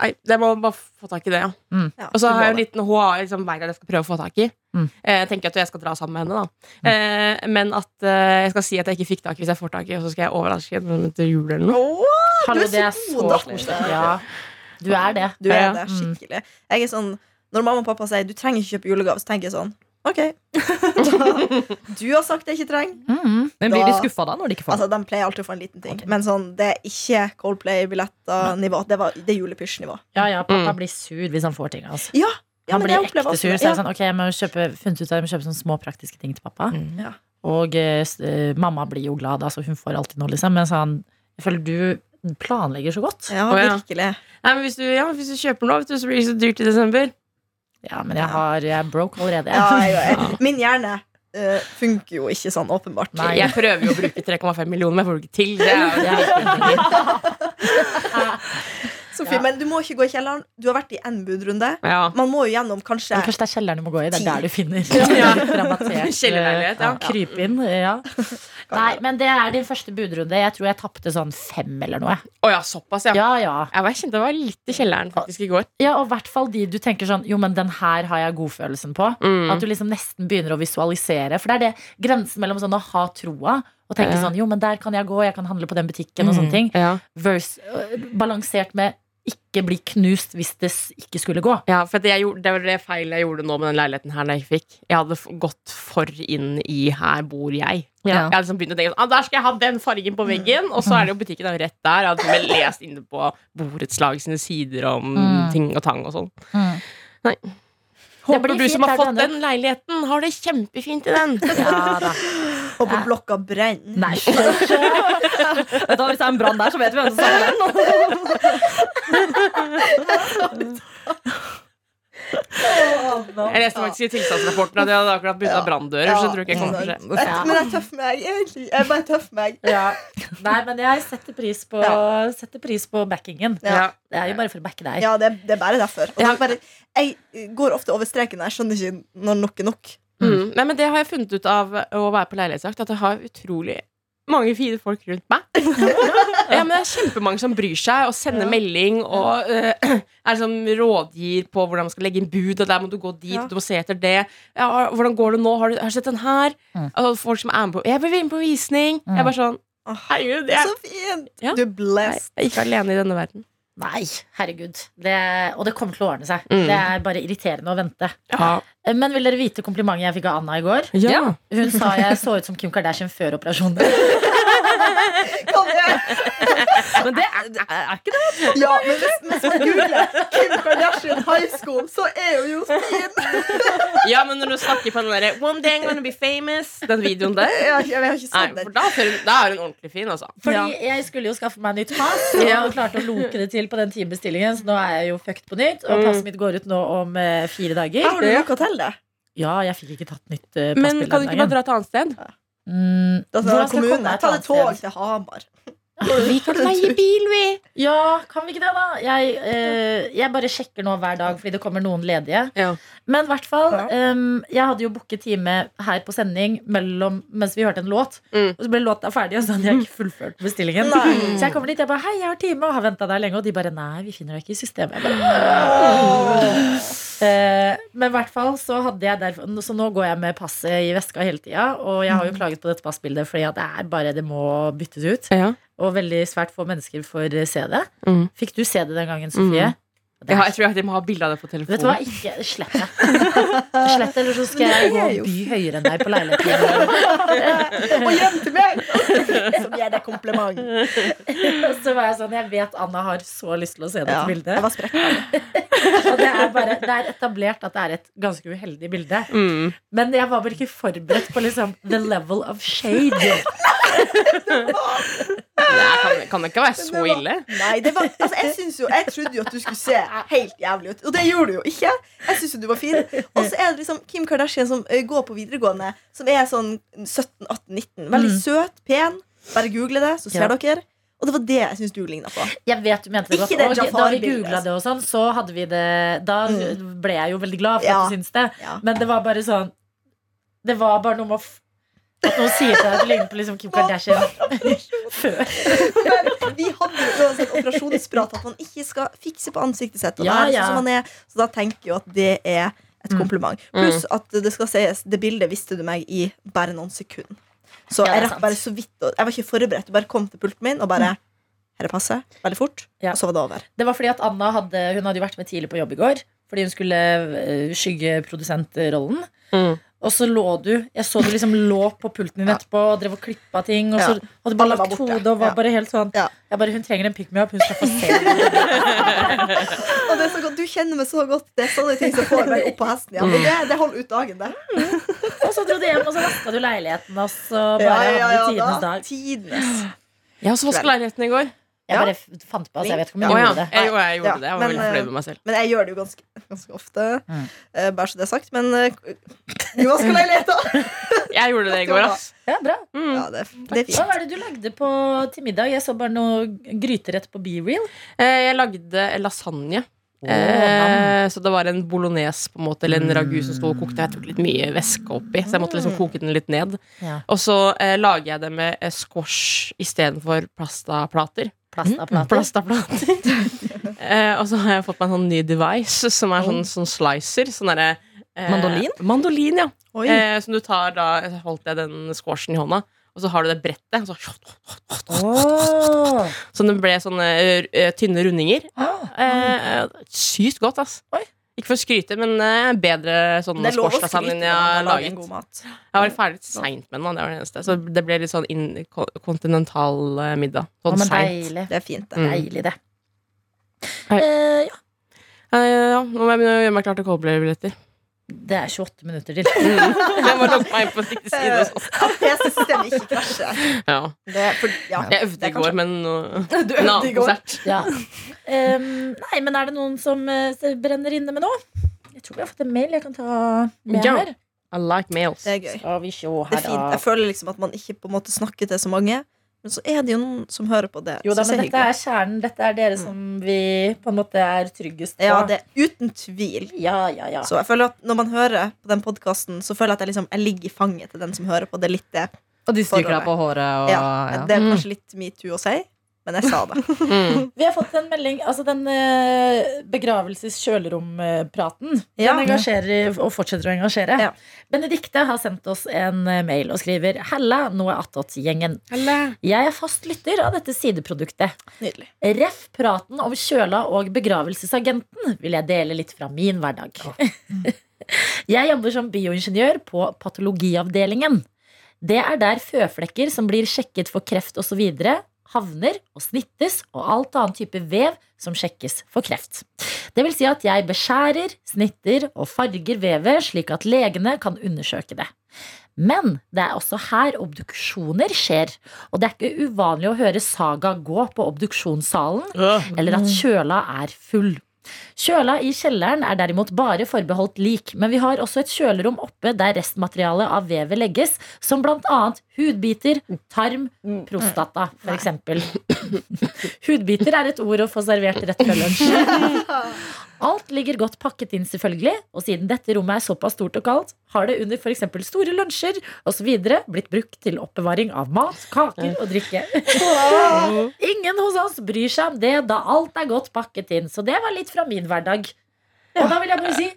Speaker 4: nei, jeg må bare få tak i det, ja.
Speaker 5: Ja,
Speaker 4: Og så
Speaker 5: du må
Speaker 4: har jeg en
Speaker 5: det.
Speaker 4: liten HA liksom, hver gang jeg skal prøve å få tak i.
Speaker 2: Mm.
Speaker 4: Eh, jeg tenker at jeg skal dra sammen med henne, da. Eh, men at eh, jeg skal si at jeg ikke fikk tak i hvis jeg får tak i, og så skal jeg overraske henne til jul eller noe.
Speaker 2: Hallo,
Speaker 5: Du er
Speaker 2: det er
Speaker 5: så
Speaker 2: så
Speaker 5: god
Speaker 2: koselig.
Speaker 5: datter.
Speaker 2: Ja, du er det.
Speaker 5: Du er
Speaker 4: Ja.
Speaker 2: Mm.
Speaker 5: der skikkelig. Jeg er sånn, når mamma og pappa sier du trenger ikke kjøpe julegave, så tenker jeg sånn OK.
Speaker 2: [laughs]
Speaker 5: Da, du har sagt jeg ikke trenger.
Speaker 2: Mhm.
Speaker 3: Men blir de
Speaker 5: Da-
Speaker 3: skuffa da? når de ikke får
Speaker 5: Altså, De pleier alltid å få en liten ting. Men sånn, det er ikke Coldplay-billetter-nivå. Det, var- det er julepysj-nivå.
Speaker 2: Ja, ja, pappa
Speaker 4: Mm.
Speaker 2: blir sur hvis han får ting. Altså.
Speaker 5: Ja, ja,
Speaker 2: Han
Speaker 5: men
Speaker 2: blir
Speaker 5: jeg
Speaker 2: ekte
Speaker 5: opplever
Speaker 2: sur.
Speaker 5: også
Speaker 2: Så
Speaker 5: det.
Speaker 2: jeg er
Speaker 5: Ja.
Speaker 2: sånn, ok, jeg må kjøpe, funnet ut av, jeg må kjøpe sånne små praktiske ting til pappa.
Speaker 3: Mm.
Speaker 5: Ja.
Speaker 2: Og eh, s- eh, mamma blir jo glad, altså. Hun får alltid noe, liksom. Mens han Jeg føler du planlegger så godt.
Speaker 5: Ja,
Speaker 4: Å, ja.
Speaker 5: virkelig.
Speaker 4: Nei, men hvis du, ja, hvis du kjøper noe, vet du, så blir det så dyrt i desember.
Speaker 2: Ja, men jeg, har, jeg er broke allerede.
Speaker 5: Ja, jeg,
Speaker 2: [laughs]
Speaker 5: jeg. Min hjerne eh, funker jo ikke sånn, åpenbart.
Speaker 2: Nei.
Speaker 4: Jeg prøver jo å bruke 3,5 millioner, men jeg får det ikke til. Det er jo
Speaker 5: Sofie, Men du må ikke gå i kjelleren. Du har vært i en budrunde.
Speaker 4: [laughs] ja.
Speaker 5: Man må jo gjennom kanskje
Speaker 2: Men Kanskje det er kjelleren du må gå i. Det er der du finner [laughs]
Speaker 4: Ja.
Speaker 2: Dramatert,
Speaker 5: [laughs]
Speaker 4: Kjellerleilighet, ja.
Speaker 2: Kryp inn. eh, Ja. Nei, men det er din første budrunde. Jeg tror jeg tapte sånn fem eller noe.
Speaker 4: Å ja, såpass, ja.
Speaker 2: Ja, ja.
Speaker 4: Jeg var- jeg kjente jeg var litt i kjelleren faktisk i går.
Speaker 2: ja Og i hvert fall de du tenker sånn Jo, men den her har jeg godfølelsen på.
Speaker 4: Mm.
Speaker 2: At du liksom nesten begynner å visualisere. For det er det grensen mellom sånn å ha troa og tenke
Speaker 4: Ja.
Speaker 2: sånn Jo, men der kan jeg gå, jeg kan handle på den butikken, og sånne ting.
Speaker 4: Ja.
Speaker 2: Vers, øh, balansert med ikke bli knust hvis det s- ikke skulle gå.
Speaker 4: Ja, for det, jeg gjorde, det var det feil jeg gjorde nå med den leiligheten her når jeg fikk. Jeg hadde f- gått for inn i 'her bor jeg'.
Speaker 2: Ja.
Speaker 4: Jeg hadde liksom begynt å tenke sånn, ah, Der skal jeg ha den fargen på veggen, og så er det jo butikken er jo rett der. Jeg hadde til og med lest inne på borettslag sine sider om
Speaker 2: Mm.
Speaker 4: ting og tang og sånn.
Speaker 2: Mm.
Speaker 4: Nei.
Speaker 2: Det
Speaker 4: Håper
Speaker 2: blir
Speaker 4: du
Speaker 2: fint
Speaker 4: som har
Speaker 2: her du
Speaker 4: fått
Speaker 2: ender.
Speaker 4: den leiligheten, har det kjempefint i den.
Speaker 2: Ja da.
Speaker 5: Og på blokka brenner.
Speaker 2: Nei.
Speaker 3: Vet du hva, Hvis det er en brann der, så vet vi hvem som sa den.
Speaker 4: Jeg leste faktisk i tilstandsrapporten at jeg hadde akkurat bytta branndører, så jeg tror ikke jeg kommer til å skje.
Speaker 5: Jeg- Men jeg er tøff meg. Egentlig. Jeg er bare tøff meg.
Speaker 2: Ja. Nei, men jeg setter pris på, setter pris på backingen.
Speaker 5: Ja.
Speaker 2: Det er jo bare for å backe deg.
Speaker 5: Ja, det, det er bare derfor. Og det
Speaker 4: Ja.
Speaker 5: er bare, jeg går ofte over streken. Jeg skjønner ikke når nok er nok.
Speaker 4: Mm. Nei, men det har jeg funnet ut av eh, å være på leilighetsjakt, at jeg har utrolig mange fine folk rundt meg. [laughs] ja, men Det er kjempemange som bryr seg og sender melding og eh, [clears throat] er liksom rådgir på hvordan man skal legge inn bud. Og der må du gå dit,
Speaker 5: Ja.
Speaker 4: du må se etter det. Ja, og hvordan går det nå? Har du, har du sett den her?
Speaker 2: Mm.
Speaker 4: Og folk som er med på Jeg vil være med på visning. Jeg er bare sånn
Speaker 5: Åh,
Speaker 4: Herregud, jeg,
Speaker 5: Så fint!
Speaker 4: Ja.
Speaker 5: Du er
Speaker 4: jeg
Speaker 5: blessed.
Speaker 4: er ikke alene i denne verden.
Speaker 2: Nei, herregud. Det, og det kommer til å ordne seg.
Speaker 4: Mm.
Speaker 2: Det er bare irriterende å vente. Eh,
Speaker 4: Ja.
Speaker 2: Men vil dere vite komplimentet jeg fikk av Anna i går?
Speaker 4: ja.
Speaker 2: Hun sa jeg så ut som Kim Kardashian før operasjonen.
Speaker 5: Kan jeg?
Speaker 3: Men det er, det er ikke det.
Speaker 5: Ja, men hvis, hvis man googler Kim Kardashian high school, så er hun jo fin!
Speaker 4: ja, men når du snakker på den derre One day I'm gonna be famous, den videoen der
Speaker 5: Jeg, har ikke- jeg har ikke
Speaker 4: Nei,
Speaker 5: sett den.
Speaker 4: for da, er hun- da er hun ordentlig fin, altså.
Speaker 2: Fordi jeg skulle jo skaffe meg nytt pass, og
Speaker 4: Ja.
Speaker 2: klarte å loke det til på den timebestillingen, så nå er jeg jo fucked på nytt.
Speaker 4: Mm.
Speaker 2: Og passet mitt går ut nå om eh, fire
Speaker 5: Har
Speaker 2: dager.
Speaker 5: du noe til det?
Speaker 2: Ja, jeg fikk ikke tatt nytt eh,
Speaker 4: Men
Speaker 2: passbilde
Speaker 4: kan du
Speaker 2: den
Speaker 4: ikke bare
Speaker 2: dagen.
Speaker 4: dra et annet sted?
Speaker 2: Mm,
Speaker 5: Da
Speaker 2: hvordan skal
Speaker 5: tar
Speaker 2: jeg komme
Speaker 5: kommune.
Speaker 2: meg
Speaker 5: Ta
Speaker 2: et
Speaker 5: det
Speaker 2: annet
Speaker 5: tog
Speaker 2: sted?
Speaker 5: til Hamar.
Speaker 4: Vi kan leie bil, vi!
Speaker 2: Ja, kan vi ikke det, da? Jeg, eh, jeg bare sjekker nå hver dag, fordi det kommer noen ledige.
Speaker 4: Ja.
Speaker 2: Men i hvert fall,
Speaker 5: Ja.
Speaker 2: em, jeg hadde jo booket time her på sending mellom, mens vi hørte en låt.
Speaker 4: Mm.
Speaker 2: Og så ble låta ferdig, og så hadde jeg ikke fullført bestillingen.
Speaker 5: Nei.
Speaker 2: Så jeg kommer dit jeg bare 'Hei, jeg har time', og har venta der lenge. Og de bare 'Nei, vi finner deg ikke i systemet'. Jeg bare, Eh, men i hvert fall så hadde jeg derfor, Så nå går jeg med passet i veska hele tida. Og jeg har
Speaker 4: Mm.
Speaker 2: jo klaget på dette passbildet fordi at det er bare det må byttes ut.
Speaker 4: Ja.
Speaker 2: Og veldig svært få mennesker får eh, se det.
Speaker 4: Mm.
Speaker 2: Fikk du se det den gangen, Sofie? Det
Speaker 4: Jeg,
Speaker 2: er-
Speaker 4: har, jeg tror jeg må ha bilde av det på
Speaker 2: Vet
Speaker 4: telefonen.
Speaker 2: du hva, ikke slett [laughs] det. Slett det, eller så skal jeg gå og by høyere enn deg på leiligheten.
Speaker 5: Og hjem til
Speaker 4: [laughs]
Speaker 5: meg! Som gir deg kompliment.
Speaker 2: [laughs] Så var jeg sånn, jeg vet Anna har så lyst til å se dette
Speaker 5: Ja, jeg
Speaker 2: bildet.
Speaker 5: var sprekk.
Speaker 2: Og sånn, det er, bare, det er etablert at det er et ganske uheldig bilde.
Speaker 4: Mm.
Speaker 2: Men jeg var vel ikke forberedt på liksom the level of shade.
Speaker 4: kan, kan det ikke være
Speaker 5: Men
Speaker 4: så
Speaker 5: det var-
Speaker 4: ille?
Speaker 5: Nei, det var, altså, jeg, synes jo, jeg trodde jo at du skulle se helt jævlig ut, og det gjorde du jo ikke. Jeg synes jo du var fin. Og så er det liksom Kim Kardashian som eh, går på videregående, som er sånn 17-18-19. Veldig
Speaker 2: Mm.
Speaker 5: søt, pen. Bare google det, så ser
Speaker 2: Ja.
Speaker 5: dere. Og det var det jeg syns du ligna på.
Speaker 2: Jeg vet du mente det godt.
Speaker 5: Ikke det
Speaker 2: Og da vi
Speaker 5: Jafar-bildet. altså.
Speaker 2: googla det og sånn, så hadde vi det Da
Speaker 5: Mm.
Speaker 2: ble jeg jo veldig glad for
Speaker 5: Ja.
Speaker 2: at du syns det.
Speaker 5: Ja.
Speaker 2: Men det var bare sånn Det var bare noe med å f- At noen sier til deg at du ligner på liksom Kim Kardashian [laughs] før.
Speaker 5: [laughs] Vi hadde jo uansett operasjonsprat at man ikke skal fikse på ansiktet sitt. Og
Speaker 2: Ja,
Speaker 5: være
Speaker 2: ja. Mm.
Speaker 5: Sånn som man er. Så da tenker jeg jo at det er et kompliment. Pluss at det skal sies, det bildet visste du meg i bare noen sekunder. Så
Speaker 2: Ja, det er
Speaker 5: jeg rakk
Speaker 2: sant.
Speaker 5: bare så vidt å- Jeg var ikke forberedt. Du bare kom til pulten min og bare Her er passet. Veldig fort.
Speaker 2: Ja.
Speaker 5: Og så var det over.
Speaker 2: Det var fordi at Anna hadde Hun hadde jo vært med tidlig på jobb i går. Fordi hun skulle eh, skygge produsentrollen.
Speaker 4: Mm.
Speaker 2: Og så lå du Jeg så du liksom lå på pulten din
Speaker 5: Ja.
Speaker 2: etterpå og drev og klippa ting. Og
Speaker 5: Ja.
Speaker 2: så hadde du bare
Speaker 5: Alle var
Speaker 2: lagt
Speaker 5: borte.
Speaker 2: hodet og var
Speaker 5: Ja.
Speaker 2: bare helt sånn
Speaker 5: Ja.
Speaker 2: Jeg bare, Hun trenger en pick me up. Hun skal få se
Speaker 5: [laughs]
Speaker 2: det.
Speaker 5: Og det er så godt, Du kjenner meg så godt. Det er sånne ting som får meg opp på hesten igjen. Og det, det holder ut dagen, det.
Speaker 2: Og så dro du hjem, og så vaska du leiligheten, og så bare
Speaker 5: Ja,
Speaker 2: hadde
Speaker 5: ja,
Speaker 2: du
Speaker 5: ja,
Speaker 2: tidenes
Speaker 5: da.
Speaker 2: dag.
Speaker 5: Tidenes.
Speaker 4: Jeg også vasket leiligheten i går.
Speaker 2: Jeg
Speaker 5: Ja.
Speaker 2: bare f- fant på, altså. Jeg vet ikke om
Speaker 5: Ja.
Speaker 2: jeg
Speaker 4: Å ja.
Speaker 2: gjorde det.
Speaker 4: Jeg, jo, jeg gjorde
Speaker 5: Ja,
Speaker 4: det. Jeg var
Speaker 5: men,
Speaker 4: veldig fornøyd med meg selv.
Speaker 5: Men jeg gjør det jo ganske, ganske ofte.
Speaker 2: Mm.
Speaker 5: Eh, bare så det er sagt. Men eh, jo, hva skal jeg [laughs] lete av?
Speaker 4: Jeg gjorde det i går, ass.
Speaker 2: Ja, bra.
Speaker 4: Mm.
Speaker 5: Ja, det, er- det er
Speaker 2: Hva
Speaker 5: fint.
Speaker 2: var det du lagde på, til middag? Jeg så bare noe gryterett på BeReal.
Speaker 4: Eh, Jeg lagde lasagne.
Speaker 2: nam.
Speaker 4: Eh, så det var en bolognese på en måte, eller en ragu som sto og kokte. Jeg tok litt mye væske oppi, så jeg måtte liksom koke den litt ned.
Speaker 2: Ja.
Speaker 4: Og så eh, lager jeg det med eh, squash istedenfor plastaplater.
Speaker 5: Mm,
Speaker 2: Plastaplater.
Speaker 4: Plastaplater. eh, og så har jeg fått meg en sånn ny device som er
Speaker 5: Oh.
Speaker 4: sånn, sånn slicer. Sånn derre eh,
Speaker 3: Mandolin?
Speaker 4: Mandolin, ja.
Speaker 5: Oi.
Speaker 4: Eh, som du tar da Holdt jeg den squashen i hånda, og så har du det brettet. Og så,
Speaker 2: Åh.
Speaker 4: så den ble sånne eh, tynne rundinger.
Speaker 2: Ah.
Speaker 4: Eh, sykt godt, ass.
Speaker 2: Oi.
Speaker 4: Ikke for å skryte, men eh, bedre sånn
Speaker 5: Det er lov å skryte
Speaker 4: squash-lasagne enn
Speaker 5: når
Speaker 4: jeg
Speaker 5: man lager en
Speaker 4: har laget.
Speaker 5: god mat.
Speaker 4: Jeg var ferdig litt seint med den, da, det var det eneste. Så det ble litt sånn inn- ko- kontinental eh, middag.
Speaker 2: Å,
Speaker 4: Sånn
Speaker 2: men
Speaker 4: seint.
Speaker 2: deilig.
Speaker 5: Det er fint, det.
Speaker 4: Mm.
Speaker 2: Deilig, det.
Speaker 4: Hei.
Speaker 2: Eh, ja,
Speaker 4: Eh, ja, nå må jeg begynne å gjøre meg klar
Speaker 5: [laughs]
Speaker 4: til Coldplay-billetter.
Speaker 2: [laughs] det er 28 minutter til.
Speaker 4: Jeg må logge meg inn på riktig side. og sånn.
Speaker 5: Eh, At PC-systemet ikke krasjer.
Speaker 4: Ja.
Speaker 5: Det, er for, ja.
Speaker 4: Jeg øvde
Speaker 5: Det
Speaker 4: i
Speaker 5: kan
Speaker 4: går, men nå-
Speaker 5: [laughs] Du
Speaker 4: en
Speaker 5: øvde i
Speaker 4: annen
Speaker 5: går.
Speaker 4: konsert.
Speaker 2: Ja. Em, nei, men er det noen som eh, brenner inne med noe? Jeg tror vi har fått en mail jeg kan ta med
Speaker 4: Ja.
Speaker 2: her.
Speaker 4: I like males.
Speaker 5: Det er gøy.
Speaker 2: Skal vi se
Speaker 5: Det
Speaker 2: her,
Speaker 5: er fint.
Speaker 2: da.
Speaker 5: Jeg føler liksom at man ikke på en måte snakker til så mange, men så er det jo noen som hører på det.
Speaker 2: Jo da,
Speaker 5: Så
Speaker 2: men
Speaker 5: det er
Speaker 2: dette
Speaker 5: hyggelig. Mm.
Speaker 2: er kjernen. Dette er dere som vi på en måte er tryggest på.
Speaker 5: ja, det er uten tvil.
Speaker 2: ja, ja, ja.
Speaker 5: Så jeg føler at når man hører på den podkasten, så føler jeg at jeg liksom jeg ligger i fanget til den som hører på. Det er litt det.
Speaker 3: Og de stryker
Speaker 5: Forholdet.
Speaker 3: deg på håret. Og,
Speaker 5: Ja,
Speaker 3: ja.
Speaker 5: det er
Speaker 2: Mm.
Speaker 5: kanskje litt metoo å si, men jeg sa
Speaker 2: [laughs]
Speaker 5: det.
Speaker 4: Mm.
Speaker 2: Vi har fått en melding Altså den eh, begravelses-kjølerom-praten.
Speaker 5: Ja.
Speaker 2: Den engasjerer og fortsetter å engasjere.
Speaker 5: Ja.
Speaker 2: Benedikte har sendt oss en eh, mail og skriver Hella, nå er attåt-gjengen. Jeg er fast lytter av dette sideproduktet. [laughs]
Speaker 5: Nydelig.
Speaker 2: Ref praten om kjøla og begravelsesagenten vil jeg dele litt fra min hverdag. [laughs] jeg jobber som bioingeniør på patologiavdelingen. Det er der føflekker som blir sjekket for kreft osv., havner og snittes, og alt annen type vev som sjekkes for kreft. Det vil si at jeg beskjærer, snitter og farger vevet slik at legene kan undersøke det. Men det er også her obduksjoner skjer, og det er ikke uvanlig å høre Saga gå på obduksjonssalen eller at kjøla er full. Kjøla i kjelleren er derimot bare forbeholdt lik, men vi har også et kjølerom oppe der restmaterialet av vevet legges, som blant annet hudbiter, tarm, prostata, for eksempel. [laughs] Hudbiter er et ord å få servert rett før lunsj. Alt ligger godt pakket inn, selvfølgelig, og siden dette rommet er såpass stort og kaldt, har det under f.eks. store lunsjer osv. blitt brukt til oppbevaring av mat, kaker og drikke. Ingen hos oss bryr seg om det, da alt er godt pakket inn. Så det var litt fra min hverdag. Og da vil jeg bare si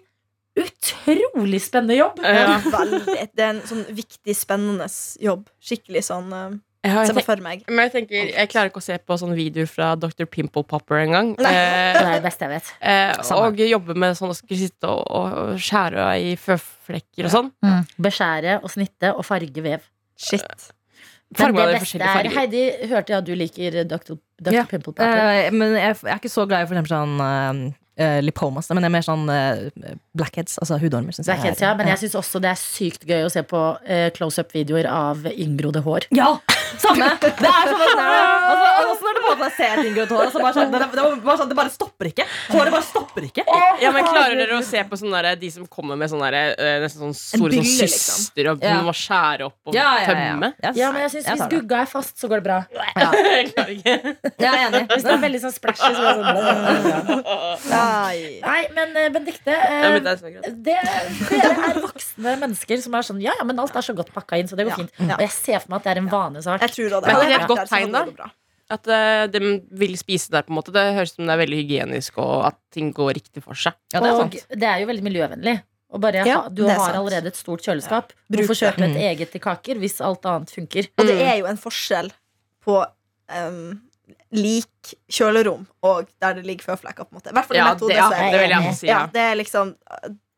Speaker 2: utrolig spennende jobb.
Speaker 4: Ja.
Speaker 5: Veldig. Det er en sånn viktig, spennende jobb. Skikkelig sånn eh,
Speaker 4: Jeg har
Speaker 5: Se
Speaker 4: tenkt-
Speaker 5: meg for meg.
Speaker 4: Men jeg tenker, jeg klarer ikke å se på sånne videoer fra Dr. Pimple Popper engang.
Speaker 2: Det
Speaker 4: Eh,
Speaker 2: er det beste jeg vet.
Speaker 4: eh,
Speaker 2: Samme.
Speaker 4: og jobbe med sånn å skulle sitte og, og skjære i føflekker og sånn.
Speaker 2: Beskjære og snitte og fargevev.
Speaker 5: Shit.
Speaker 2: Men
Speaker 4: Farger
Speaker 2: det
Speaker 4: av de
Speaker 2: beste
Speaker 4: forskjellige
Speaker 2: er
Speaker 4: farger.
Speaker 2: Heidi, hørte jeg at du liker Dr. Dr.
Speaker 3: Ja.
Speaker 2: Pimple Popper?
Speaker 3: Eh, men jeg, jeg er ikke så glad i for eksempel sånn eh, eh, lipomas. Men det er mer sånn eh, blackheads, altså hudormer. Synes
Speaker 2: Så jeg er helt-
Speaker 3: jeg
Speaker 2: ja,
Speaker 3: er-
Speaker 2: men jeg syns også det er sykt gøy å se på close up-videoer av eh, inngrodde hår.
Speaker 3: ja, Samme. [laughs] Det er sånn at
Speaker 2: [laughs]
Speaker 3: altså, altså, Når du bare ser ting rundt håret, så bare sånn, det, det, var bare sånn, det bare stopper ikke. Håret bare stopper ikke.
Speaker 4: Ja, men Klarer dere å se på sånne der, de som kommer med sånne der, eh, nesten sånn store
Speaker 5: bylle,
Speaker 4: sånn
Speaker 5: liksom.
Speaker 4: syster og
Speaker 3: Ja.
Speaker 4: må skjære opp og tømme? [laughs]
Speaker 2: Ja, men jeg synes Hvis gugga er fast, så går det bra.
Speaker 4: Jeg klarer ikke.
Speaker 3: Jeg er enig.
Speaker 2: [laughs] Hvis det er veldig sånn splashy, så går det sånn
Speaker 5: Nei.
Speaker 2: Nei, men eh, Benedicte
Speaker 4: Ja,
Speaker 2: eh,
Speaker 4: men det er så greit.
Speaker 2: det, Dere er voksne mennesker som er sånn Ja, ja, men alt er så godt pakka inn, så det går
Speaker 5: Ja.
Speaker 2: fint.
Speaker 5: Ja.
Speaker 2: Og jeg ser for meg at det er en vanesak.
Speaker 5: Jeg tror da det.
Speaker 4: Men
Speaker 5: Hadde
Speaker 4: det
Speaker 5: jeg
Speaker 4: er et
Speaker 5: vært
Speaker 4: godt
Speaker 5: der, så hadde
Speaker 4: tegn, da.
Speaker 5: det gått bra.
Speaker 4: At eh, de vil spise der, på en måte. Det høres ut som det er veldig hygienisk, og at ting går riktig for seg.
Speaker 3: Ja, det er
Speaker 2: og
Speaker 3: sant.
Speaker 2: det er jo veldig miljøvennlig. Og bare,
Speaker 5: Ja,
Speaker 2: ha, du
Speaker 5: det er
Speaker 2: har
Speaker 5: sant.
Speaker 2: allerede et stort kjøleskap.
Speaker 5: Bruk
Speaker 2: Hvorfor
Speaker 5: det.
Speaker 2: kjøpe et eget til kaker hvis alt annet funker?
Speaker 5: Og
Speaker 4: Mm.
Speaker 5: det er jo en forskjell på em, lik kjølerom og der det ligger føflekker. på en måte I hvert fall i
Speaker 4: Ja,
Speaker 5: mitt
Speaker 4: det,
Speaker 5: hode.
Speaker 4: ja,
Speaker 5: så er
Speaker 4: det vil jeg også si.
Speaker 5: altså. Ja,
Speaker 4: Ja.
Speaker 5: det er liksom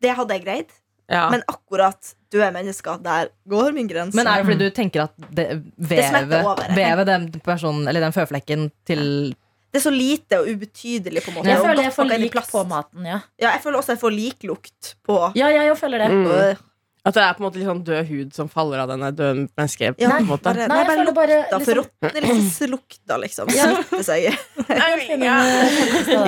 Speaker 5: Det hadde jeg greid,
Speaker 4: Ja.
Speaker 5: men akkurat du er menneske, der går min grense.
Speaker 3: Men er det fordi du tenker at det, vevet,
Speaker 5: smetter over.
Speaker 3: vevet den, personen, eller den føflekken til
Speaker 5: det er så lite og ubetydelig, på en måte.
Speaker 2: Jeg
Speaker 5: og
Speaker 2: føler
Speaker 5: godt
Speaker 2: jeg får
Speaker 5: pakket inn i
Speaker 2: lik
Speaker 5: plast.
Speaker 2: på maten, ja.
Speaker 5: Ja, jeg føler også jeg får liklukt på
Speaker 2: Ja, jeg jo føler det.
Speaker 4: Mm.
Speaker 5: Øh,
Speaker 4: At det er på en måte litt sånn død hud som faller av denne døde mennesket.
Speaker 5: Ja,
Speaker 4: på en måte.
Speaker 2: Nei,
Speaker 5: bare, nei,
Speaker 2: jeg
Speaker 5: bare
Speaker 2: føler bare
Speaker 5: lukta, for
Speaker 2: liksom,
Speaker 5: rottelukta, liksom.
Speaker 2: [laughs]
Speaker 5: Smitter seg.
Speaker 2: ja.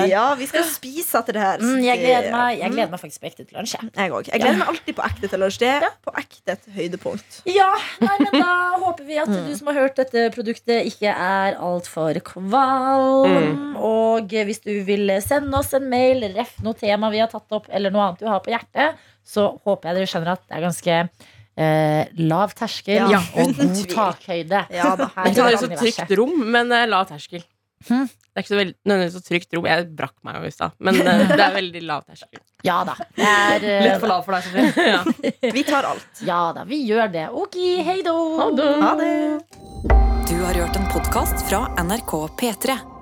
Speaker 5: Ja, vi skal spise etter det her.
Speaker 2: mm, jeg, gleder meg, jeg gleder meg faktisk på ekte til lunsj. jeg.
Speaker 5: Jeg òg. Jeg gleder meg alltid på ekte til lunsj. Det er på ekte et høydepunkt.
Speaker 2: Ja, nei, men da håper vi
Speaker 5: Mm.
Speaker 2: at du som har hørt dette produktet, ikke er altfor
Speaker 5: Mm.
Speaker 2: kvalm. Og hvis du vil sende oss en mail, ref noe tema vi har tatt opp, eller noe annet du har på hjertet, så håper jeg dere skjønner at det er ganske eh, lav terskel
Speaker 5: Ja,
Speaker 2: [laughs] og
Speaker 5: uten
Speaker 2: god
Speaker 5: tvil.
Speaker 2: takhøyde.
Speaker 5: Ja da.
Speaker 2: Her
Speaker 4: Ikke
Speaker 2: i
Speaker 4: nødvendigvis så
Speaker 2: universet.
Speaker 4: trygt rom, men eh, lav terskel.
Speaker 5: Hmm.
Speaker 2: Hm?
Speaker 4: Det er ikke så veld- nødvendigvis så trygt rom. Jeg brakk meg jo i stad, men eh, det er veldig lav
Speaker 5: [laughs]
Speaker 4: terskel.
Speaker 2: Ja da. Det er, eh,
Speaker 3: Litt for lav for deg, Sofie.
Speaker 4: [laughs] Ja.
Speaker 5: Vi tar alt.
Speaker 2: ja da, vi gjør det. Ok, hei då.
Speaker 5: Ha det.
Speaker 1: Du har hørt en podkast fra NRK P3.